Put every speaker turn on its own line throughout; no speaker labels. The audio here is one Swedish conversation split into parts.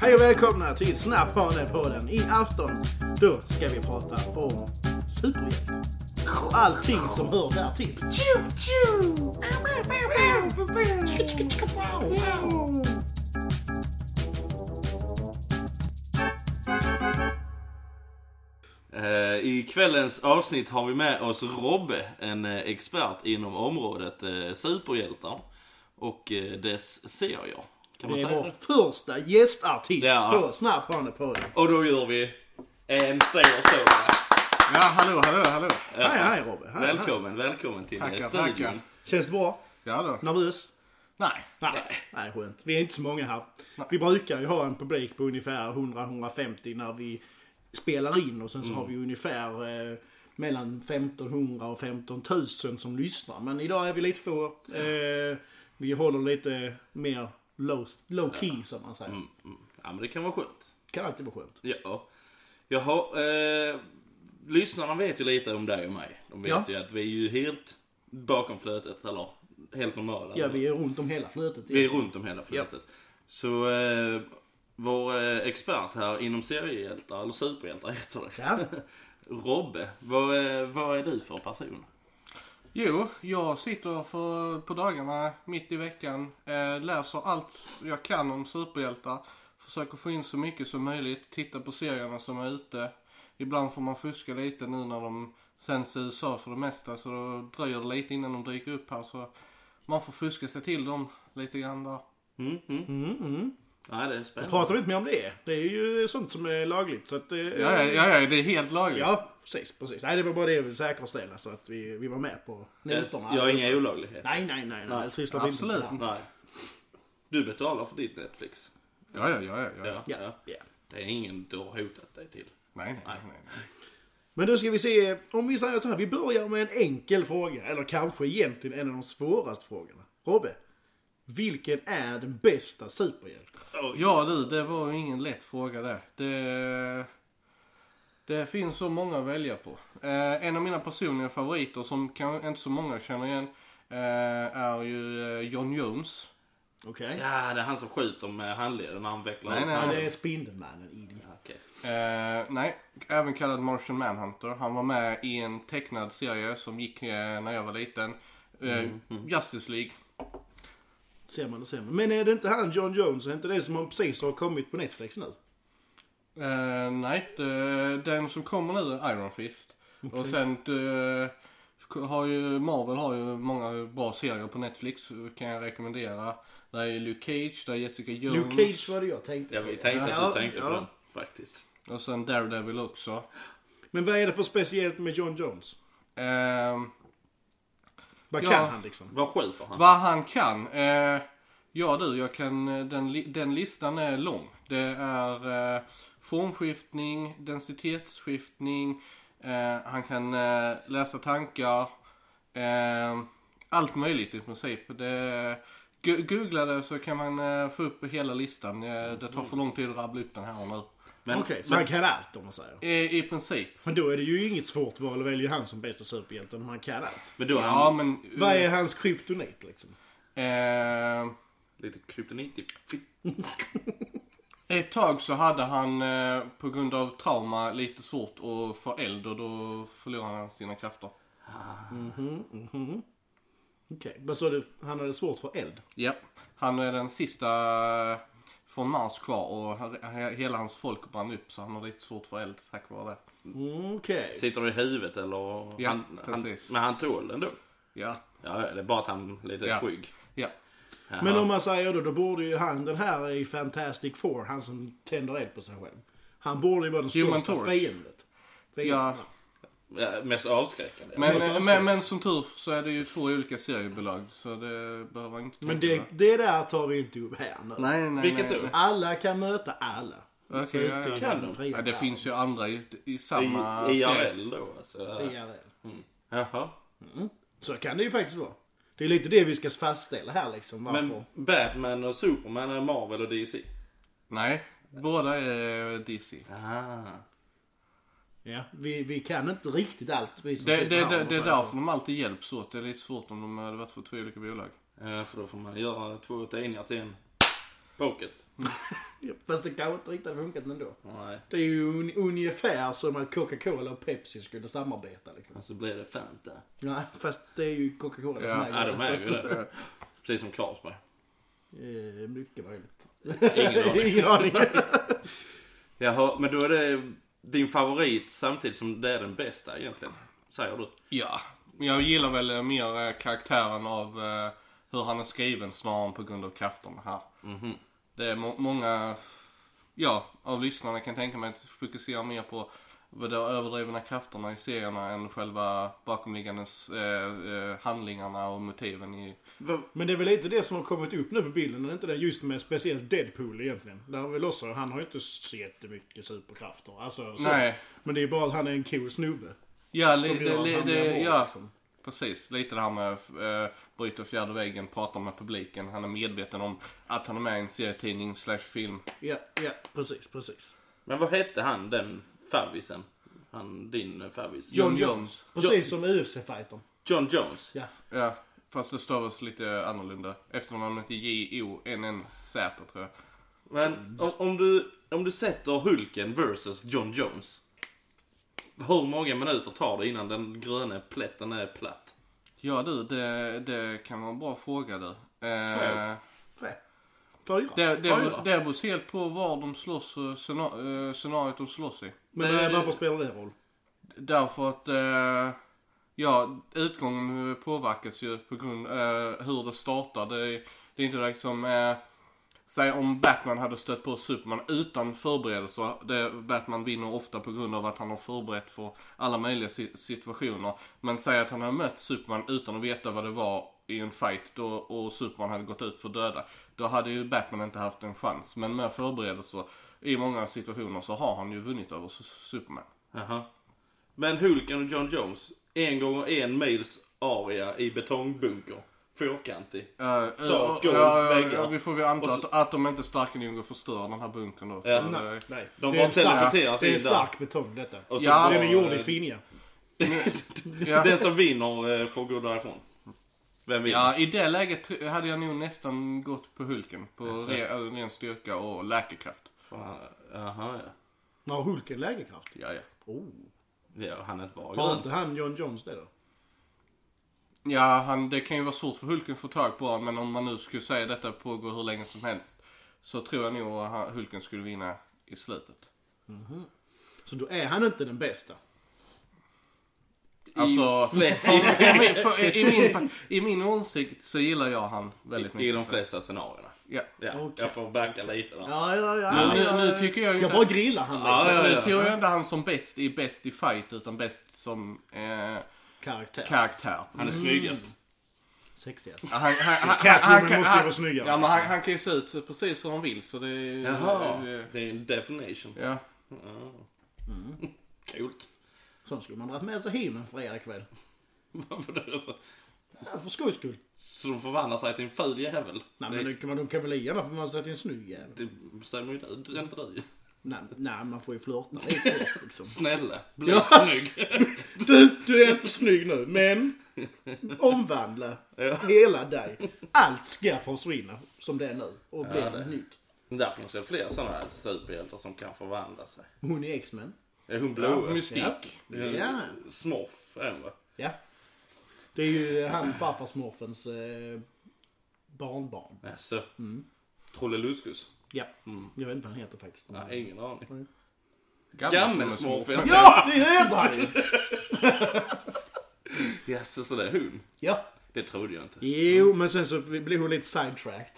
Hej och välkomna till Snabbhanepodden. I afton, då ska vi prata om superhjältar. Och allting som hör därtill.
Eh, I kvällens avsnitt har vi med oss Robbe, en eh, expert inom området eh, superhjältar och eh, dess serier. Kan man
Det är
säga
vår
det?
första gästartist
Ja.
på Snabbhanepodden.
Och då gör vi en stor sådan.
Ja, hallå, hallå, hallå.
Hej, hej Robbe. Hej, hej.
Välkommen, välkommen till eh,
Tackar,
studion.
tackar.
Känns det bra?
Ja då.
Nervös?
Nej.
Nej, nej skönt. Vi är inte så många här. Vi brukar ju ha en publik på ungefär 100-150 när vi spelar in och sen så har vi ungefär eh, mellan 1500 och 15 000 som lyssnar. Men idag är vi lite få. Eh, vi håller lite mer low, low key som man säger.
Ja, men det kan vara skönt.
Kan alltid vara skönt.
Ja. Jaha, eh, lyssnarna vet ju lite om dig och mig. De vet
Ja.
ju att vi är ju helt bakom flötet, eller helt normala.
Ja, vi är runt om hela flötet.
Vi är runt om hela flötet. Så eh, vår eh, expert här inom seriehjältar, eller superhjältar heter det.
Ja.
Robbe, vad, eh, vad är du för person?
Jo, jag sitter för, på dagarna mitt i veckan, eh, läser allt jag kan om superhjältar, försöker få in så mycket som möjligt, tittar på serierna som är ute. Ibland får man fuska lite nu när de sänds i USA för det mesta så då dröjer det lite innan de dyker upp här så man får fuska sig till dem lite grann där.
Mm, mm. Nej, det är spännande.
Pratar vi inte mer om det? Det är ju sånt som är lagligt. Så att, eh,
Ja, ja, ja, det är helt lagligt.
ja, precis, precis. Nej, det var bara det jag ville säkerställa så att vi, vi var med på noterna.
Jag har inga olagligheter.
Nej, nej, nej. nej.
Nej,
Det sysslar vi inte med.
absolut inte.
Nej. Du betalar för ditt Netflix.
Ja, ja, ja, ja. ja.
Ja,
Ja.
ja.
ja.
Det är ingen du har hotat dig till.
Nej, nej, nej. nej.
Men då ska vi se, om vi säger så här, vi börjar med en enkel fråga, eller kanske egentligen en av de svåraste frågorna. Robbe, vilken är den bästa superhjälten?
Ja du, det var ju ingen lätt fråga där. Det, det finns så många att välja på. Eh, en av mina personliga favoriter som kan, inte så många känner igen eh, är ju eh, John Jones.
Okej?
Ja, det är han som skjuter med handleden när han vecklar
Nej,
ut
nej,
Ja,
handen.
det är Spindelmannen i det.
Okej.
Eh, nej, även kallad Martian Manhunter. Han var med i en tecknad serie som gick eh, när jag var liten. Eh, Justice League.
Ser man och ser man. Men är det inte han John Jones, är inte det som precis har kommit på Netflix nu?
Eh, nej, det, den som kommer nu är Iron Fist. Och sen eh, har ju Marvel har ju många bra serier på Netflix kan jag rekommendera. Där är Luke Cage, där är Jessica Jones.
Luke Cage var det jag tänkte
Jag tänkte
Ja,
att du tänkte
ja.
på den, faktiskt.
Och sen Daredevil också.
Men vad är det för speciellt med John Jones?
Eh,
Vad
Ja.
kan han liksom?
Vad skjuter han?
vad han kan. Eh, ja du, jag kan, eh, den, li- den listan är lång. Det är eh, formskiftning, densitetsskiftning, eh, han kan eh, läsa tankar, eh, allt möjligt i princip. Det, gu- googla det så kan man eh, få upp hela listan. Eh, det tar för lång tid att rabbla upp den här nu. Eh,
Men,
Okej, så han kan allt om man säger.
I, i princip.
Men då är det ju inget svårt val att välja han som bästa superhjälten om han kan allt.
men då är han
Ja men...
Vad är hans kryptonit liksom?
Eh,
lite kryptonit i fitt-
Ett tag så hade han eh, på grund av trauma lite svårt att få eld och då förlorade han sina krafter.
Okej, men så det, han hade svårt för eld?
Ja. Han är den sista eh, från Mars kvar och han, he- hela hans folk brann upp så han har lite svårt för eld tack vare det.
Mm, Okej.
Sitter i huvudet eller?
Ja,
han, han,
precis.
men han tål ändå?
Ja.
Ja, det är bara att han är lite
Ja.
skygg.
Ja.
Jaha.
Men om man säger då, då borde ju han den här i Fantastic Four, han som tänder eld på sig själv. Han borde ju vara den
Human
största
Torch.
fiendet. Fienden.
Ja.
Ja, Mest avskräckande.
Men,
måste
men,
avskriva.
men, som tur så är det ju två olika seriebolag så det behöver man inte
Men
tänka
det, det där tar vi inte upp här nu.
Nej, nej,
Vilket
nej.
då?
Alla kan möta alla.
Okej, ja, ja.
Utom
kan de.
den fria
Ja, det
världen.
finns ju andra i, i
I,
samma serie.
IRL då alltså.
Fria världen.
Jaha.
Så kan det ju faktiskt vara. Det är lite det vi ska fastställa här liksom. Varför?
Men Batman och Superman är Marvel och DC?
Nej, båda är DC.
Ah.
Ja, vi, vi kan inte riktigt allt. Vi som
Det,
typ
sitter här,
det,
om
det,
man
det är
säger
därför
så.
de alltid hjälps åt. Det är lite svårt om de hade varit för två olika bolag.
Ja, för då får man göra två tidningar till en pocket.
Fast det kanske inte riktigt hade funkat ändå.
Nej.
Det är ju un- ungefär som att Coca-Cola och Pepsi skulle samarbeta liksom.
Men så blir det Fanta.
Nej, fast det är ju Coca-Cola som
Ja, eh,
Ja,
äger
de är ju
så
det. Precis som Carlsberg.
att, eh, Mycket möjligt.
Ingen aning.
Ingen aning.
Jaha, men då är det din favorit samtidigt som det är den bästa egentligen. Säger du.
Ja, men jag gillar väl eh, mer eh, karaktären av eh, hur han är skriven snarare än på grund av krafterna här.
Mhm.
Det är må- många, ja, av lyssnarna kan tänka mig att fokusera mer på vad de överdrivna krafterna i serierna än själva bakomliggande eh, eh, handlingarna och motiven i...
Men det är väl lite det som har kommit upp nu på bilden. Är det inte det just med speciellt Deadpool egentligen? Där har väl också, han har ju inte så jättemycket superkrafter. Alltså, så.
Nej,
Men det är ju bara att han är en cool snubbe.
ja, li,
Som
det,
gör att
li,
han blir
det,
bra,
ja
liksom.
precis. Lite det här med eh, bryta fjärde väggen, prata med publiken. Han är medveten om att han är med i en serietidning slash film.
Ja, ja, precis, precis.
Men vad hette han den favvisen? Han, din eh, favvis?
John
John
Jones.
Jones.
Precis som UFC-fightern.
John Jones.
Ja.
Ja, fast det stavas lite annorlunda. Efternamnet är J-O-N-N-Z tror jag.
Men om, om, du, om du sätter Hulken versus John Jones. Hur många minuter tar det innan den gröna plätten är platt?
Ja du, det, det kan vara en bra fråga du. Eh,
Två.
Tre. Fyra.
det, det,
Oj då.
det beror helt på var de slåss och scena- eh, scenariot de slåss i.
Men
det-
eh, varför spelar det roll?
Därför att, eh, ja, utgången påverkas ju på grund eh, hur det startar. Det, det är inte direkt som, eh, säg om Batman hade stött på Superman utan förberedelser. Det, Batman vinner ofta på grund av att han har förberett för alla möjliga si- situationer. Men säg att han hade mött Superman utan att veta vad det var i en fight då, och Superman hade gått ut för döda. Då hade ju Batman inte haft en chans. Men med förberedelser i många situationer så har han ju vunnit över Su- Superman.
Jaha. Men Hulken och John Jones. En gånger en mils area i betongbunker. Fyrkantig.
Ja,
golv,
ja, ja,
väggar.
ja, vi får väl anta
Och så-
att, att de inte är starka nog att förstöra den här bunkern då. för eh,
Ja.
det-
Nej.
De
det
bara
är en stark,
teleporteras
det är
in
en
där.
stark betong detta.
Och så
Ja.
var-
Den är gjord i Finja.
Ja.
Den som vinner eh, får gå därifrån. Vem vinner?
ja, i det läget tr- hade jag nog nästan gått på Hulken. På eh, ren, ren styrka och läkekraft.
Fan, Jaha, ja.
Har Hulken lägerkraft?
Ja, ja.
Oh.
ja. Han är inte bara
Har
grön.
inte han John Jones det då?
Ja, han, det kan ju vara svårt för Hulken att få tag på honom, men om man nu skulle säga detta pågår hur länge som helst. Så tror jag nog att han- Hulken skulle vinna i slutet.
Så då är han inte den bästa.
Alltså,
flest-
för, för, min- för, i, min, I min åsikt så gillar jag han väldigt
I
mycket.
de flesta scenarierna.
Ja.
Ja,
Okej.
Jag får backa lite där.
Ja, ja, ja.
Men
ja,
nu,
ja.
nu tycker jag ju
jag
inte...
bara grillar han
Ja,
lite.
ja,
Nu
ja.
tror jag inte han som bäst är bäst i fight utan bäst som eh,
Karaktär.
karaktär.
Han är
Mm.
snyggast.
Sexigast.
Han, han, han,
Catwoman måste ju vara snyggare, liksom.
Ja men han, han kan ju se ut precis hur han vill så det är ju...
Jaha.
eh,
Det är en definition.
Ja.
Ja.
Mm.
Coolt.
Sån skulle man dragit med sig hem en fredagkväll.
Varför då? Så-
Ja, för skojs skull.
Så de förvandlar sig till en ful jävel.
Nej men det kan man, de kan väl lika gärna få man sig till en snygg jävel.
Det säger man ju inte. Det är inte du.
Nej, nej, man får ju flörta lite liksom.
Snälla, bli
Ja.
snygg.
Du, du är inte snygg nu, men omvandla hela dig. Allt ska försvinna som det är nu och bli
Ja,
något
det.
nytt.
Där finns det fler sådana här superhjältar som kan förvandla sig.
Hon är X-Men.
Är hon
Ja,
blå?
mystik.
Ja. ja.
Smurf är hon va?
ja. Det är ju han farfarsmorfens eh, barnbarn.
Jaså?
Mm.
Trolleluskus?
Ja. Jag vet inte vad han heter faktiskt.
Mm.
Nej, ingen aning.
Gammelsmurfen.
Gammelsmurfen.
Ja, det heter han ju!
Jaså, så det är hon?
Ja.
Det trodde jag inte.
Jo, men sen så blev hon lite sidetracked.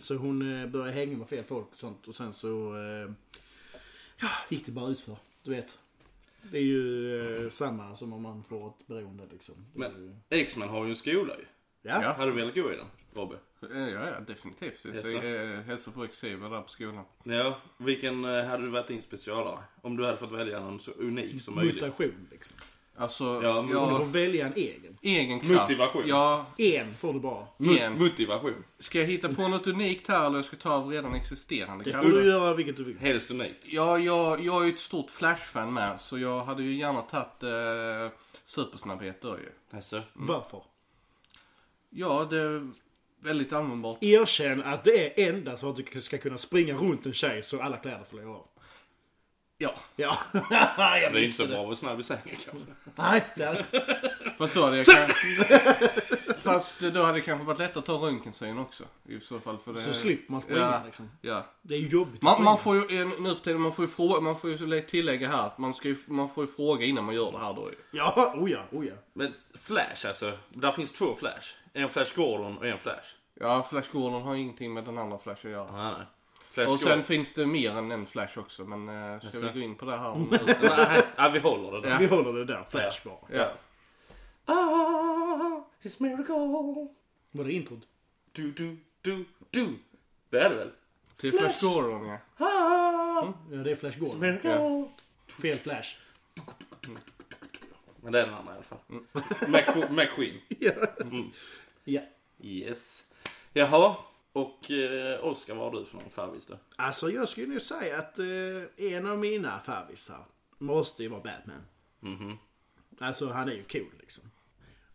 Så hon eh, började hänga med fel folk och sånt. Och sen så eh, ja, gick det bara utför. Du vet. Det är ju eh, samma som om man får ett beroende liksom. Det är ju-
Men X-Men har ju en skola ju.
ja.
Ja.
Hade du velat gå i den, Robbe?
Ja, ja, definitivt. Jag
Jaså?
säger, eh, hälsar på Exiva där på skolan.
Ja, vilken eh, hade du varit din specialare? Om du hade fått välja någon så unik som möjligt.
mutation liksom.
Alltså,
Ja, men-
Du
ja,
får välja en egen.
egen kraft.
Motivation.
Ja,
En får du bara.
Mut-
igen.
motivation. Mut-
Ska jag hitta på något unikt här eller jag ska ta av redan existerande?
Det
Kan
får
du-
du göra vilket du vill.
Helst unikt.
Ja, jag, jag är ju ett stort Flash-fan med, så jag hade ju gärna tagit eh, supersnabbhet då ju.
Alltså,
Varför?
Ja, det väldigt användbart.
Erkänn att det är enda så att du ska kunna springa runt en tjej så alla kläder flyger av.
Ja,
Ja, jag
Det är
visste
inte
det.
bra att vara snabb i sängen kanske.
Nej, det är
fast då hade jag kan... Fast då hade det kanske varit lättare att ta röntgensyn också. I så fall för det...
Så slipper man springa
ja,
liksom.
Ja.
Det är ju jobbigt att
Man,
springa.
man får ju eh, nu för tiden, man får ju, fråga, man får ju tillägga här att man, ska ju, man får ju fråga innan man gör det här då ju.
Ja, oh ja, oh ja.
Men Flash alltså. Där finns två Flash. En Flash Gordon och en Flash.
Ja, Flash Gordon har ingenting med den andra Flash att göra.
Nej, nej. Flash
Och sen
Gordon.
finns det mer än en Flash också, men eh, ska
Jaså?
vi gå in på det här om nu?
Nej, nej, vi håller det där.
Ja.
Vi håller det där, Flash bara.
ja.
Ah, it's miracle.
Var det introt?
Du, du, du, du. Det är det väl?
Till Typ Flash Gordon ja.
Ah,
Ja, det är Flash Gordon.
miracle.
Ja.
Fel Flash.
Men det är den andra i alla fall.
Mm.
McQu- McQueen.
Ja.
Yes. Jaha. Och eh, Oskar, vad har du för någon färgvis då?
Alltså jag skulle ju säga att eh, en av mina favvisar måste ju vara Batman.
Mhm.
Alltså han är ju cool liksom.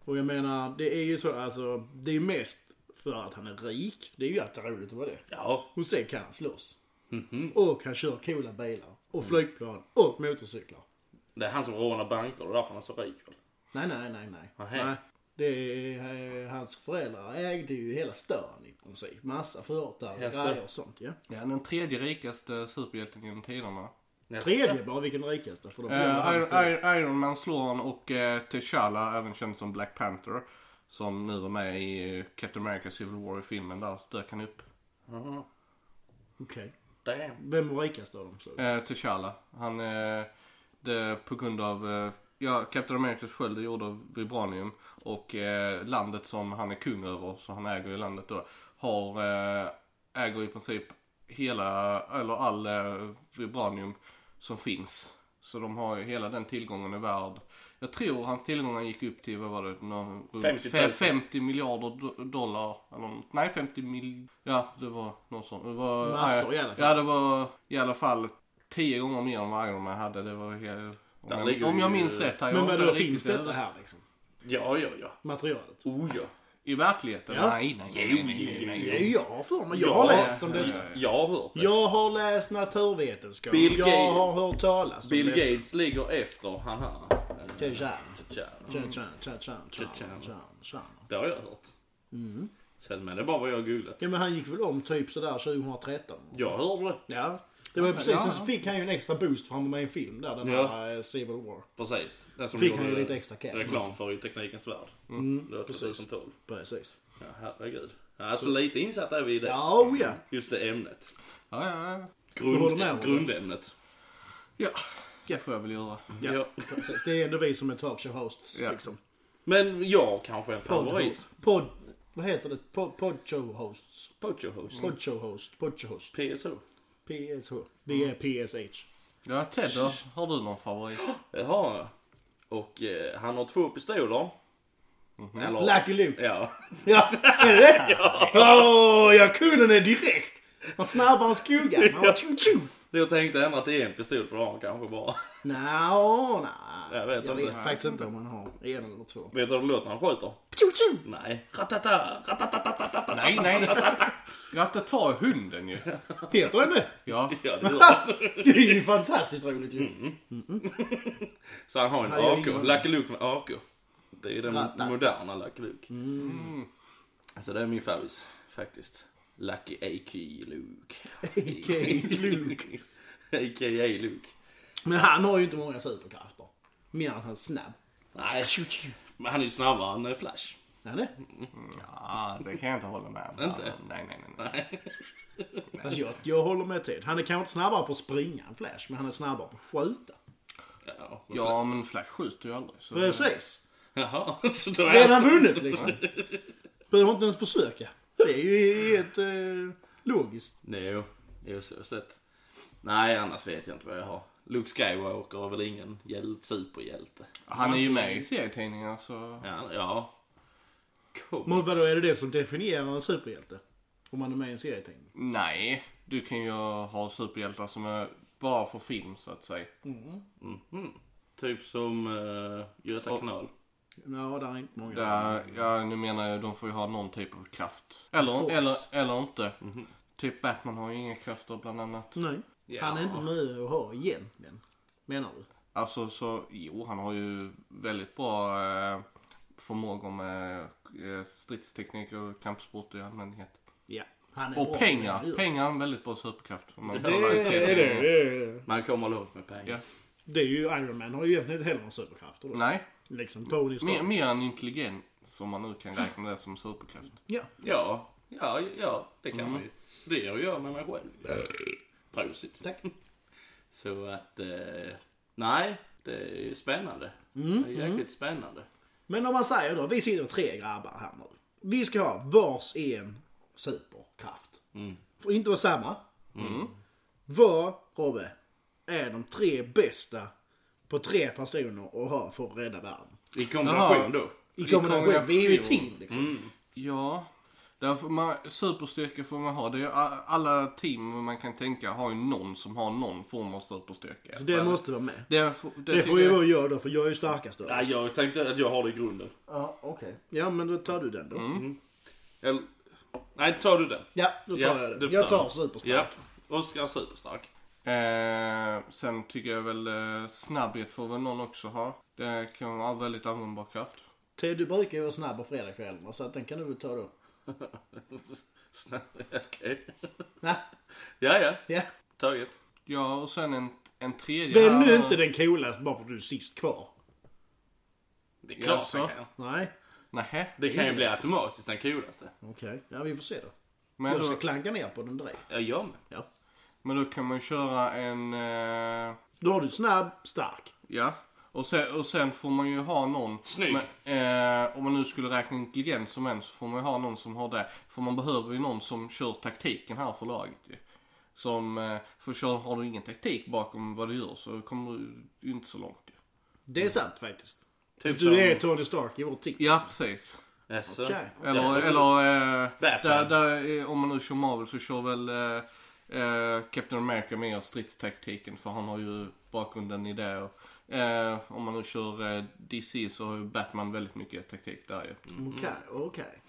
Och jag menar, det är ju så alltså, det är ju mest för att han är rik. Det är ju alltid roligt att vara det.
Ja.
Och sen kan han slåss.
Mhm.
Och han kör coola bilar.
Mm.
Och flygplan. Och motorcyklar.
Det är han som rånar banker och därför han är så rik väl?
Nej, nej, nej, nej.
Nähä.
nej. Det är, eh, hans föräldrar ägde ju hela stan i princip. Massa företag och
Jaså?
grejer och sånt ja.
ja. Den tredje rikaste superhjälten genom tiderna.
Yes.
Tredje bara, vilken rikaste. För de
Eh,
han
Iron,
istället.
Iron, Iron Man slår han och eh, T'Challa, även känd som Black Panther. Som nu var med i eh, Captain America Civil War i filmen, där dök han upp.
Ah,
Okej.
damn.
Vem var rikast av dem? Så?
Eh, T'Challa. Han eh, det, på grund av eh, ja, Captain Americas sköld är gjord av vibranium och eh, landet som han är kung över, så han äger ju landet då, har, eh, äger i princip hela, eller all eh, vibranium som finns. Så de har ju hela den tillgången i värld. Jag tror hans tillgångar gick upp till, vad var det? Någon,
50 000.
fe- 50 miljarder do- dollar. Eller, något. nej, 50 mil... Ja, det var något sånt. Det var,
Massor i alla fall.
Ja, det var i alla fall tio gånger mer än vad Iron Man hade. Det var helt... Om,
Där
jag,
ligger
om jag
ju-
minns rätt här. jag
Men
har
vad
inte
då
riktigt
finns
det.
detta här liksom?
Ja, ja, ja.
Materialet?
Oh ja.
I verkligheten?
Ja.
Nej, nej,
Jo, jo,
nej, nej,
jo,
nej.
jo.
Det är jag för mig. Jag har
Ja.
läst om detta.
Jag har hört det.
Jag har läst naturvetenskap.
Bill
jag
Gates-
har hört talas om
Bill
detta.
Gates ligger efter han här.
Tja, tja.
Tja,
Tja, tja, tja, tja, tja,
Tja, tja.
tja, tja.
Det har jag hört. Sen, men det är bara vad jag har googlat.
Mm. Ja men han gick väl om typ sådär 2013?
Jag hörde det.
Ja. Det var precis,
ja,
sen
ja.
så fick han ju en extra boost för han var med i en film där, den
Ja.
här eh, Civil War.
Precis. Den som
Fick
gjorde
han ju lite extra cash. Mm.
reklam för i Teknikens Värld. Mm. det var 2012.
Precis.
Ja, herregud. Ja, Alltså lite insatt är vi i det.
Ja, oh, ja.
Just det ämnet.
Ja, ja, ja.
håller med om
Grund,
det.
grundämnet.
Ja, det får jag väl göra.
Ja.
Precis. Det är ändå vi som är talkshow hosts
Ja.
liksom.
Men jag kanske är en favorit.
Podd... Vad heter det? Pod, podshow hosts.
Pocho Host.
Podshow host. Podshow host.
PSO.
PSH. Vi är PSH.
Ja, Ted då? Har du någon favorit?
Det har jag. Och eh, han har två pistoler.
Mhm.
Eller,
Lucky Luke.
Ja.
Ja, är det det? Ja. Åh, jag kunde det direkt. Han snabbare än skuggan. Han var tju tju.
Jag tänkte ändra till en pistol för det har han kanske bara.
Nja, nja.
Jag vet
jag
inte.
vet faktiskt inte om han har en eller två.
Vet du vad låten han skjuter?
Tju tju.
Nej. Ratata, ratatatatata.
Nej, nej. Ratta tar hunden ju.
Peter är med.
Ja,
Ja.
det gör han.
Det är ju fantastiskt roligt ju.
Så han har en
Nej, jag
AK.
gillar den.
Lucky Luke med AK. Det är den
Rattar.
moderna Lucky Luke.
Mm.
Så det är min favorit faktiskt. Lucky AK Luke.
A.K.A. Luke.
A.k.a. Luke.
Men han har ju inte många superkrafter. Mer än att han är snabb.
Nej, men han är ju snabbare än eh, Flash.
Ja, det.
ja, det kan jag inte hålla med om.
Inte?
Nej, nej, nej. nej.
Alltså, jag, jag håller med Ted. Han är kanske inte snabbare på att springa än Flash, men han är snabbare på att skjuta.
Ja, men Flash-
Ja, men Flash skjuter ju aldrig.
Mm.
Så...
Precis.
Jaha, så då är
Redan
han...
vunnit liksom. Behöver inte ens försöka. Det är ju helt eh, logiskt.
Jo, jo, så sett. Nej, annars vet jag inte vad jag har. Luke Skywalker är väl ingen hjäl- superhjälte.
Han är ju med i serietidningar så...
Ja, ja. Cool.
Men vadå, är det det som definierar en superhjälte? Om man är med i en serietidning?
Nej, du kan ju ha superhjältar som är bara för film så att säga.
Typ som uh, Göta
Och-
kanal.
Ja, där är inte många.
Där, ja, nu menar jag de får ju ha någon typ av kraft. Eller,
Force. Mhm.
eller, eller inte. Typ Batman har ju inga krafter bland annat.
Nej. Han är inte med att ha egentligen. Menar du?
Alltså så, jo han har ju väldigt bra eh, förmågor med eh, stridsteknik och kampsport i allmänhet.
Ja. Han är bra
Och
på det han
pengar.
gör.
Pengar är en väldigt bra superkraft. Om man
Det
kollar i
Det är det.
serien.
Det är,
Man kommer långt med pengar.
Ja.
det är ju Iron Man har ju egentligen inte heller några superkrafter då.
Nej,
Liksom Tony
mer,
Stark.
mer än intelligens som man nu kan räkna det som superkraft.
Ja.
Ja, ja, ja det kan man ju. Det har att göra med mig själv. Prosit.
Tack.
Så att, eh, nej, det är spännande. det är jäkligt spännande.
Men om man säger då, vi sitter tre grabbar här nu. Vi ska ha vars en superkraft.
Mm.
Får inte vara samma. Vad, Robbe, är de tre bästa på tre personer att ha för att rädda världen?
I kombination
Jaha.
då.
I kombination,
kombination.
vi är ju ett team liksom.
Mm.
Ja, där får man, superstyrka får man ha. Det är, ju a- alla team man kan tänka har ju någon som har någon form av superstyrka.
Så det måste vara med.
det, får- det
Det
tycker
får ju
jag-
jag göra då, för jag är ju starkast av
Ja,
oss.
jag tänkte att jag har det i grunden.
Ja, okej. Ja, men då tar du den då.
Mm. Eller, nej, tar du den?
Ja, då tar jag den.
du får
Jag
ta
tar
den.
superstark.
Ja, Oskar superstark.
Eh, sen tycker jag väl eh, snabbhet får väl någon också ha. Det kan vara väldigt användbar kraft.
Ted, du brukar ju vara snabb på fredagskvällarna, så att den kan du väl ta då.
Snälla, Okej.
Nej,
Ja, ja.
ja.
Taget.
Ja, och sen en, en tredje
Det är
här-
nu inte den coolaste bara för att du är sist kvar.
Det är klart
Jaså?
han kan.
Nej,
Nähä.
Det kan ju bli automatiskt den coolaste.
okej. Ja, vi får se då.
Men
jag
då,
ska klanka ner på den direkt.
Jag gör med.
Ja.
men då kan man köra en... Eh,
Då har du snabb, stark.
ja. Och sen, och sen får man ju ha någon...
Snygg.
Men, eh, om man nu skulle räkna intelligens som en så får man ju ha någon som har det. För man behöver ju någon som kör taktiken här för laget ju. Som, eh, för kör, har du ingen taktik bakom vad du gör så kommer du ju inte så långt ju.
Det är sant faktiskt.
Typ
du är
som-
Tony Stark i vårt team.
Mm. Ja, precis.
Jaså?
Okej.
Eller,
Jag tror-
eller eh,
Batman.
där, där, eh, om man nu kör Marvel så kör väl eh, eh, Captain America mer stridstaktiken för han har ju bakgrunden i det. Och, eh, om man nu kör eh, DC så har ju Batman väldigt mycket taktik där ju.
Mm.
Mm, Okej, okej.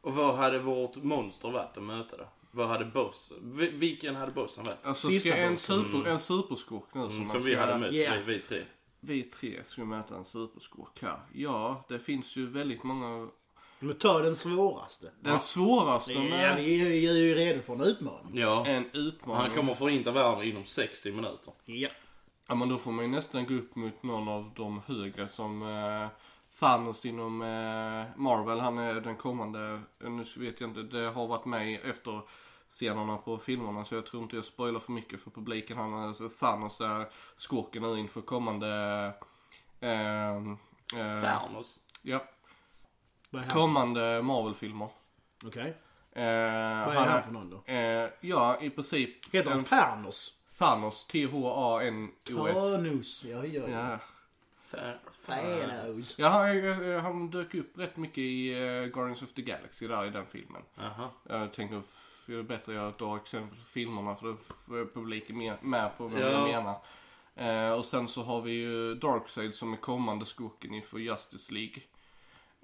Och vad hade vårt monster varit att möta då? Vad hade boss... vi- Vilken hade bossen varit?
Alltså
Sista
ska en,
bossen.
super, en superskurk nu som man
Mm, Som vi
ska,
hade mött,
Yeah.
vi, vi tre.
Vi tre ska möta en superskurk här. Ja, det finns ju väldigt många.
Men ta den svåraste.
Den svåraste
Ja,
med
vi är ju- är ju redo för en utmaning.
Ja.
en utmaning.
Han kommer förinta världen inom 60 minuter.
Ja.
Ja men då får man ju nästan gå upp mot någon av de högre som eh, Thanos inom eh, Marvel. Han är den kommande, eh, nu så vet jag inte, det har varit med efter scenerna på filmerna så jag tror inte jag spoilar för mycket för publiken. Han är så Thanos är skurken nu inför kommande... Eh,
Mm.
eh,
Thanos.
ja,
Vad är han?
kommande Marvel-filmer.
Okej.
Eh,
Vad är han för någon då?
eh, ja, i princip
Heter han
en
Fernos?
Thanos, T-H-A-N-O-S.
Thanos. Ja, ja, ja.
Ja.
Tha-
Thanos.
Ja, han, eh, han dök upp rätt mycket i eh, Guardians of the Galaxy där i den filmen.
Aha.
Jag tänker, f- det är bättre att jag drar exempel på filmerna för då får publiken mer- med på vad
Ja.
jag menar. Eh, och sen så har vi ju Darkseid som är kommande skurken inför Justice League.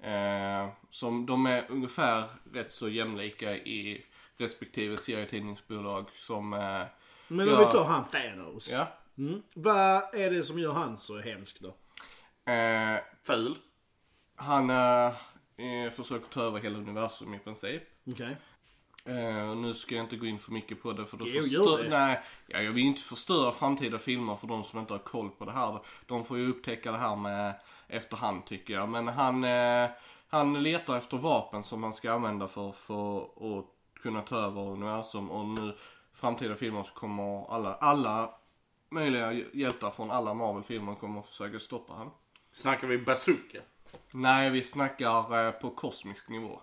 Eh, som de är ungefär rätt så jämlika i respektive serietidningsbolag som... Eh,
Men om
Ja.
vi tar han Thanos.
ja.
Mm. Vad är det som gör han så hemsk då?
Eh,
Ful.
han eh, eh, försöker ta över hela universum i princip.
Okej.
Eh, nu ska jag inte gå in för mycket på det för då
Jo, gör
förstör...
det.
Nej, ja, jag vill inte förstöra framtida filmer för de som inte har koll på det här. De får ju upptäcka det här med efterhand tycker jag. Men han, eh, han letar efter vapen som han ska använda för, för att kunna ta över universum. Och nu framtida filmer så kommer alla, alla möjliga hjältar från alla Marvel-filmer kommer försöka stoppa han.
Snackar vi bazooka?
Nej, vi snackar eh, på kosmisk nivå.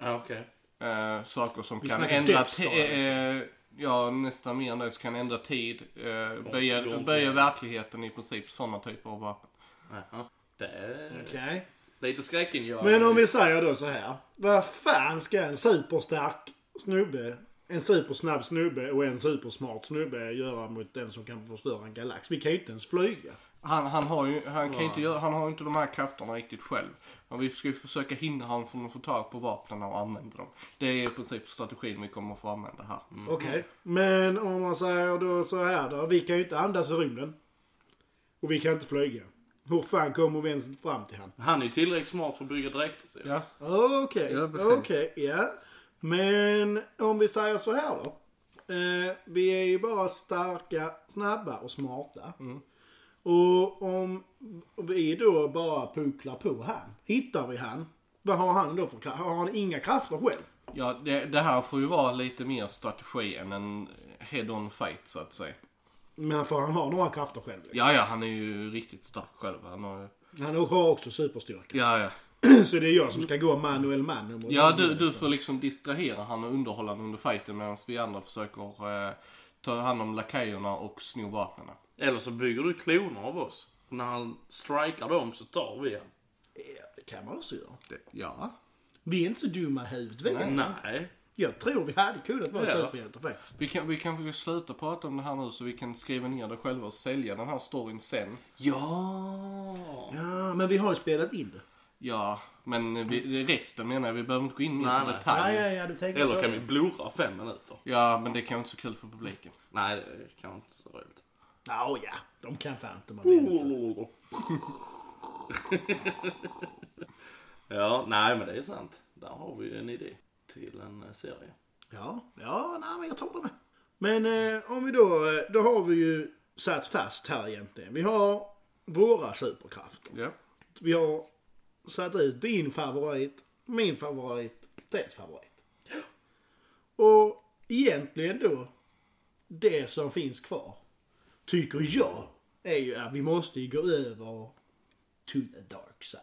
Ja, okej.
eh, saker som kan
snackar
ändra
Death Star, liksom.
ti- eh, ja nästan mer än det, som kan ändra tid, eh, böja,
långt
böja
ner.
verkligheten i princip, sådana typer av vapen.
Jaha. Det är
Okej.
lite skräckinjagande.
Men om vi säger då så här. Vad fan ska en superstark snubbe en supersnabb snubbe och en supersmart snubbe göra mot den som kan förstöra en galax? Vi kan ju inte ens flyga.
Han, han har ju han kan ju inte göra, han har ju inte de här krafterna riktigt själv. Men vi ska ju försöka hindra honom från att få tag på vapnen och använda dem. Det är i princip strategin vi kommer att få använda här.
Okej. Men om man säger då så här då. Vi kan ju inte andas i rymden. Och vi kan inte flyga. Hur fan kommer vi ens fram till han?
Han är ju tillräckligt smart för att bygga dräkter till oss.
Ja.
Okej,
Ja, precis.
okej, ja. Men om vi säger så här då. Eh, vi är ju bara starka, snabba och smarta.
Mm.
Och om vi då bara puklar på han. Hittar vi han. Vad har han då för krafter? Har han inga krafter själv?
Ja, det, det här får ju vara lite mer strategi än en head-on fight så att säga.
Men för han har några krafter själv. liksom.
Ja, ja, han är ju riktigt stark själv. Han har ju...
Han har också superstyrka.
Ja, ja.
Så det är jag som ska gå manuell man. mot
Ja,
honom,
du, du
alltså.
får liksom distrahera han och underhålla honom under fighten medan vi andra försöker eh, ta hand om lakajerna och sno vapnen.
Eller så bygger du kloner av oss. När han strikar dem så tar vi han.
Ja, Det kan man också göra.
Det- Ja.
Vi är inte så dumma i huvudet. vi.
Nej.
Jag tror vi hade kunnat vara
Ja.
superhjältar faktiskt.
Vi, kan, vi kanske ska sluta prata om det här nu så vi kan skriva ner det själva och sälja den här storyn sen.
Ja.
Ja, men vi har ju spelat in det.
Ja, men vi, resten menar jag, vi behöver inte gå
Nej,
in i
nej.
Ja,
detalj.
ja, ja, du tänker så.
Eller kan vi blurra fem minuter?
Ja, men det kan inte så kul för publiken.
Nej, det kan inte så roligt.
Ja, ja. De kan fan inte man
Oh.
vet.
ja, nej men det är sant. Där har vi ju en idé till en eh, serie.
Ja, ja, nej, men jag tror det med. Men eh, om vi då, eh, då har vi ju satt fast här egentligen. Vi har våra superkrafter.
Ja.
Vi har satt ut din favorit, min favorit, Teds favorit. Och egentligen då, det som finns kvar, tycker jag, är ju att vi måste ju gå över to the dark side.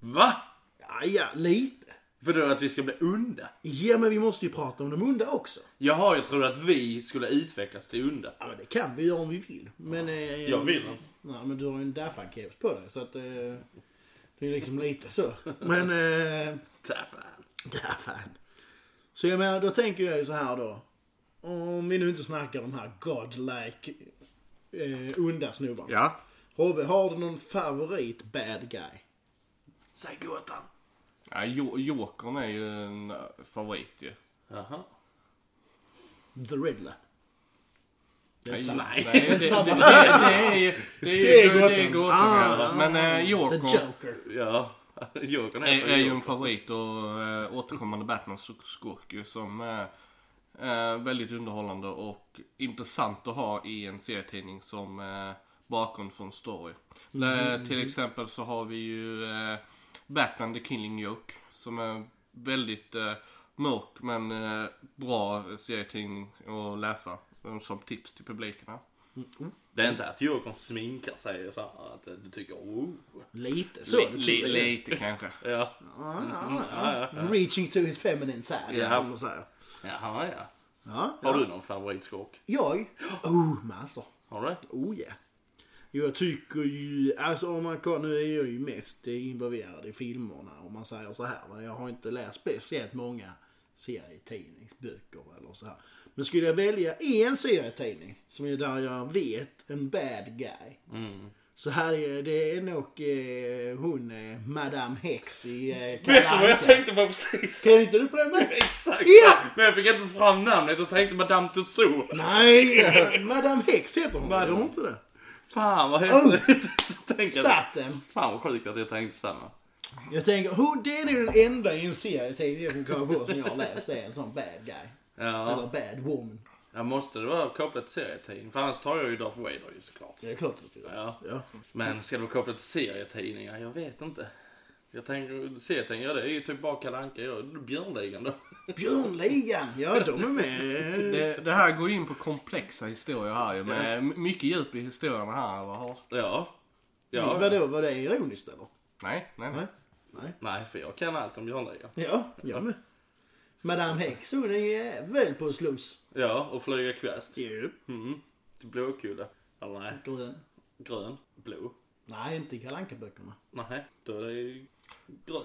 Va?
Ja, ja, lite.
För då att vi ska bli onda?
Ja, men vi måste ju prata om de onda också.
Jaha, jag trodde att vi skulle utvecklas till onda.
Ja, men det kan vi göra om vi vill. Men... Eh,
Jag vill inte.
Nej, men du har ju en Daffan-keps på dig, så att... Eh, det är liksom lite så. Men... Eh,
Ta fan.
Ja, fan. Så jag menar, då tänker jag ju så här då. Om vi nu inte snackar om de här godlike eh, onda snubbarna.
Ja.
Robbe, har du någon favorit bad guy?
Säg Gotham.
ja Jo- Jokern är ju en eh, favorit ju.
Jaha.
The Riddler. Det är inte sant.
Nej.
Nej, det, det, det,
Samma.
det, är ju- det är ju
Det är
det, det
Gotham.
är Gotham. ja. Men eh,
The
Joker
Joker.
Ja, Jokern
är,
heter
är ju
Joker.
en favorit och eh, återkommande Batman-skurk ju som är eh, väldigt underhållande och intressant att ha i en serietidning som eh, bakgrund för en story. Eh, till exempel så har vi ju eh, Batman The Killing Joke som är väldigt eh, mörk men eh, bra serietidning att läsa eh, som tips till publiken här.
Det är inte att Jokern sminkar sig och så här att eh, du tycker oh.
Lite så.
Li-
det
li-
tycker jag.
Lite kanske.
Ja.
Ja,
Mm,
ja, ja. Reaching to his feminine side,
Ja.
som de säger.
Jaha, ja.
Ja,
Har du någon favoritskurk?
jag? Oh, massor.
Har du det?
Oh ja. Jo, Jag tycker ju, alltså om man kollar, nu är jag ju mest eh, involverad i filmerna om man säger så här. va. Jag har inte läst speciellt många serietidningsböcker eller så här. Men skulle jag välja en serietidning som är där jag vet en bad guy.
Mm.
Så här är det är nog eh, hon eh, Madame Hex i eh, Kalle
Vet du vad jag
Anka.
tänkte på precis?
Tänkte du på det med?
Exakt!
Ja!
Men jag fick inte fram namnet och tänkte Madame Tussauds.
Nej! eh, Madame Hex heter hon. Gör
Madame.
hon inte det?
Fan vad häftigt! Tänk att-
Oh. Satt den.
Fan vad sjukt att jag tänkte samma.
Jag tänker, hon, det är nog den enda i en serietidning jag kan komma på som jag har läst. Det är en sån bad guy. Eller
Ja,
bad woman.
jag måste det vara kopplat till serietidning? För annars tar jag ju Darth Vader ju såklart.
Så det är klart att det är.
Ja.
Ja.
Men ska det vara kopplat till serietidningar? Jag vet inte. Jag tänker, serietidningar det är ju typ bara Kalle Anka. Jag- Björnligan då.
Björnligan! Ja, de är med.
Eh,
Det, det här går in på komplexa historier här ju med m- mycket djup i historierna här eller har?
Ja.
Ja.
Ja.
Vadå, var Mm, det ironiskt eller?
Nej, nej, nej.
Nej.
Nej, för jag kan allt om Björnligan.
Ja, jag med. Madame Hex, hon är jävel på att slåss.
Ja, och flyga kvast.
Jo.
Mm. Till Blåkulla. Eller nej,
Grön.
grön. Blå.
Nej, inte i Kalle Anka-böckerna.
Nej, då är det ju grön.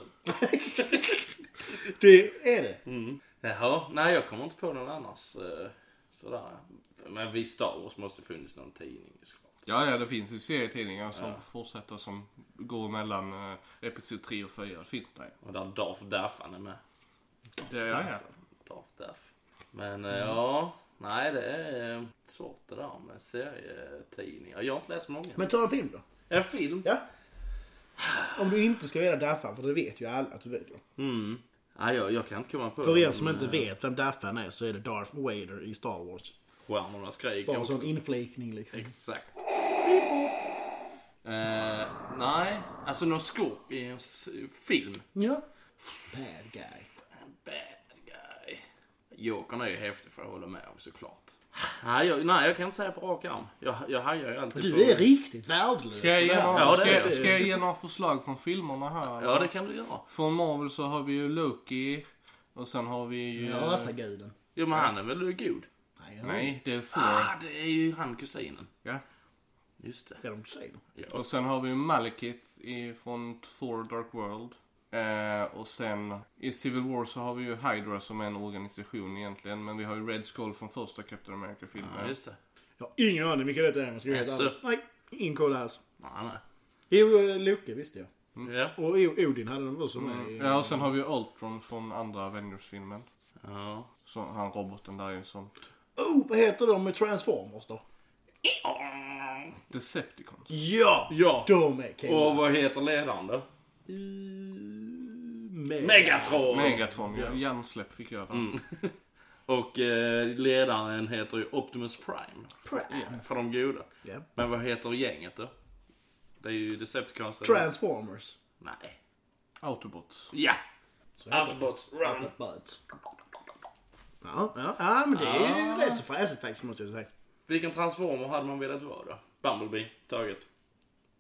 Det är det.
Mm. Jaha, nej jag kommer inte på någon annars. eh, Sådär. Men vi Star Wars måste funnits någon tidning såklart.
Ja, ja, det finns ju serietidningar som fortsätter som går mellan eh, episod 3 och 4. Det finns det.
Och där Darth Daffan är med.
det ja, ja.
Darth Daff. Men
Mm.
eh, ja, nej det är eh, svårt det där med serietidningar. Jag har inte läst många.
Men ta en film då.
En film?
Ja. Om du inte ska välja Daffan, för det vet ju alla att du väljer.
Mm. Nej, jag, jag kan inte komma på
För er
någon,
som inte
eh,
vet vem Daffan är så är det Darth Vader i Star Wars.
Stjärnornas krig
Bara en
också.
sån inflikning liksom.
Exakt. Eh, nej, alltså någon skurk i en s- film.
Ja. Bad guy.
Bad guy. Jokern är ju häftig för att hålla med om såklart. Nej, jag, nej, jag kan inte säga på rak arm. Jag, jag hajar ju alltid på...
Du är riktigt värdelös.
Ska jag, ge några,
Ja,
ska,
det är-
jag- ska jag ge några förslag från filmerna här?
Ja, det kan du göra.
Från Marvel så har vi ju Loki. Och sen har vi ju...
Ja, asaguden.
Jo, men han är väl god?
Nej, Nej.
Nej, det är Thor.
Ah, det är ju han kusinen.
Ja.
Just det.
Det är de du säger.
Ja.
Och sen har vi ju Malekith i- från Thor Dark World. Eh, och sen i Civil War så har vi ju Hydra som är en organisation egentligen. Men vi har ju Red Skull från första Captain
ja,
America-filmen.
just det.
Jag har ingen aning vilka det är. men Ska jag
Jaså?
alltså. Nej, ingen koll alls.
Nej, nej.
Jo, eh, Loke visste jag.
Ja.
Och O- Odin hade de också med. i-
Mm. Ja, och sen har vi Ultron från andra Avengers-filmen.
Ja.
Så han roboten där ju som
Oh, vad heter de med Transformers då?
Decepticons.
Ja!
Ja.
De är
Och
coola.
vad heter ledaren då?
Mega.
Megatron!
Megatron, ja. hjärnsläpp fick jag
Mm.
där.
Och eh, ledaren heter ju Optimus Prime.
Pra-
För de goda.
Ja.
Men vad heter gänget då? Det är ju Decepticons. eller-
Transformers.
Nej.
Autobots.
Ja! Autobots run!
Autobots. Ja, ja, ja, men det är ju rätt så fräsigt faktiskt måste jag säga.
Vilken transformer hade man velat vara då? Bumblebee, taget.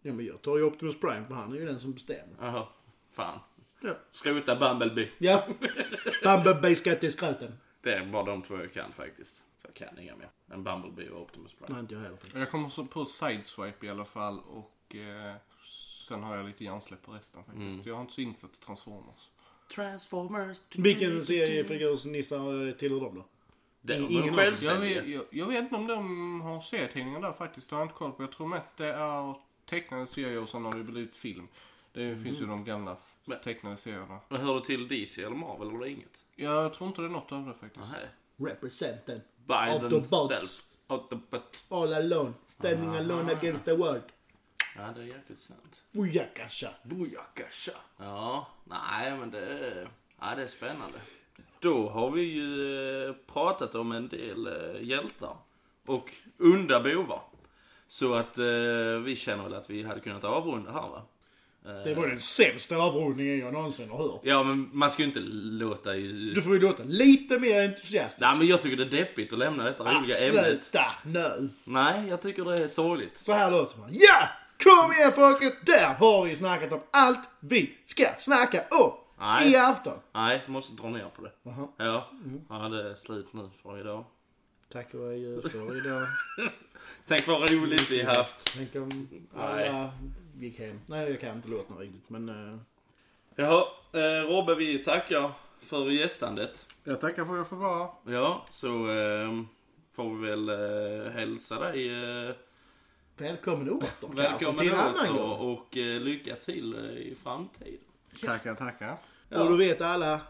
Ja, men jag tar ju Optimus Prime för han är ju den som bestämmer.
Jaha. Fan.
Ja.
Skrota Bumblebee.
Ja. Bumblebee ska till skröten.
Det är bara de två jag kan faktiskt. Så jag kan inga mer. En Bumblebee och Optimus Prime.
Nej, inte jag heller. faktiskt.
Jag kommer så på Sideswipe i alla fall och eh, sen har jag lite hjärnsläpp på resten faktiskt.
Mm.
Jag har inte så insatt i Transformers.
Transformers.
Vilken seriefigursnissar tillhör de då?
Det var
Ingen
Ingen
aning.
Jag
självständiga.
vet, jag, jag vet inte om de har serietidningar där faktiskt. Det har jag inte koll på. Jag tror mest det är tecknade serier och sen har det blivit film. Det finns ju de gamla
Men-
tecknade serierna.
Men hör du till DC eller Marvel eller inget?
Jag tror inte det är något av det faktiskt.
Nej.
Representen.
Biden
Autobots.
Autobots.
All alone. Standing
Ah.
alone against the world.
Ja, det är jäkligt sant.
Booyakasha.
Eh. Booyakasha. Ja, nej men det är, ja, det är spännande. Då har vi ju eh, pratat om en del eh, hjältar och onda bovar. Så att eh, vi känner väl att vi hade kunnat avrunda här va?
Det var den sämsta avrundningen jag någonsin har hört.
Ja men man ska ju inte låta ju...
Du får ju låta lite mer entusiastisk.
Nej men jag tycker det är deppigt att lämna detta roliga ämnet.
Sluta nu!
Nej, jag tycker det är sorgligt.
Så här låter man. Ja! Kom igen folket! Där har vi snackat om allt vi ska snacka om!
Nej.
I afton.
Nej, måste dra ner på det.
Jaha. Mm.
Ja, ja det är slut nu för idag.
Tack och adjö för idag.
Tänk vad roligt vi haft.
Tänk om
Nej.
alla gick hem. Nej, jag kan inte låta riktigt men... eh,
Jaha, eh, Robbe vi tackar för gästandet.
Jag tackar för att jag får vara.
Ja, så eh, får vi väl eh, hälsa dig eh,
Välkommen åter kanske,
välkommen
till en annan
åter
gång.
och, och eh, lycka till eh, i framtiden.
Tackar, tackar.
Ja.
Och då vet alla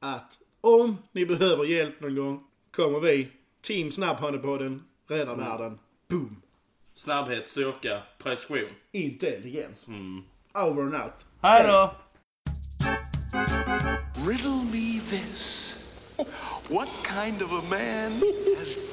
att om ni behöver hjälp någon gång kommer vi, Team Snabbhandepodden, rädda
Mm.
världen. Boom!
Snabbhet, styrka, precision.
Intelligens.
Mm.
Over and out.
Hej då!
Riddle me this. What kind of a man has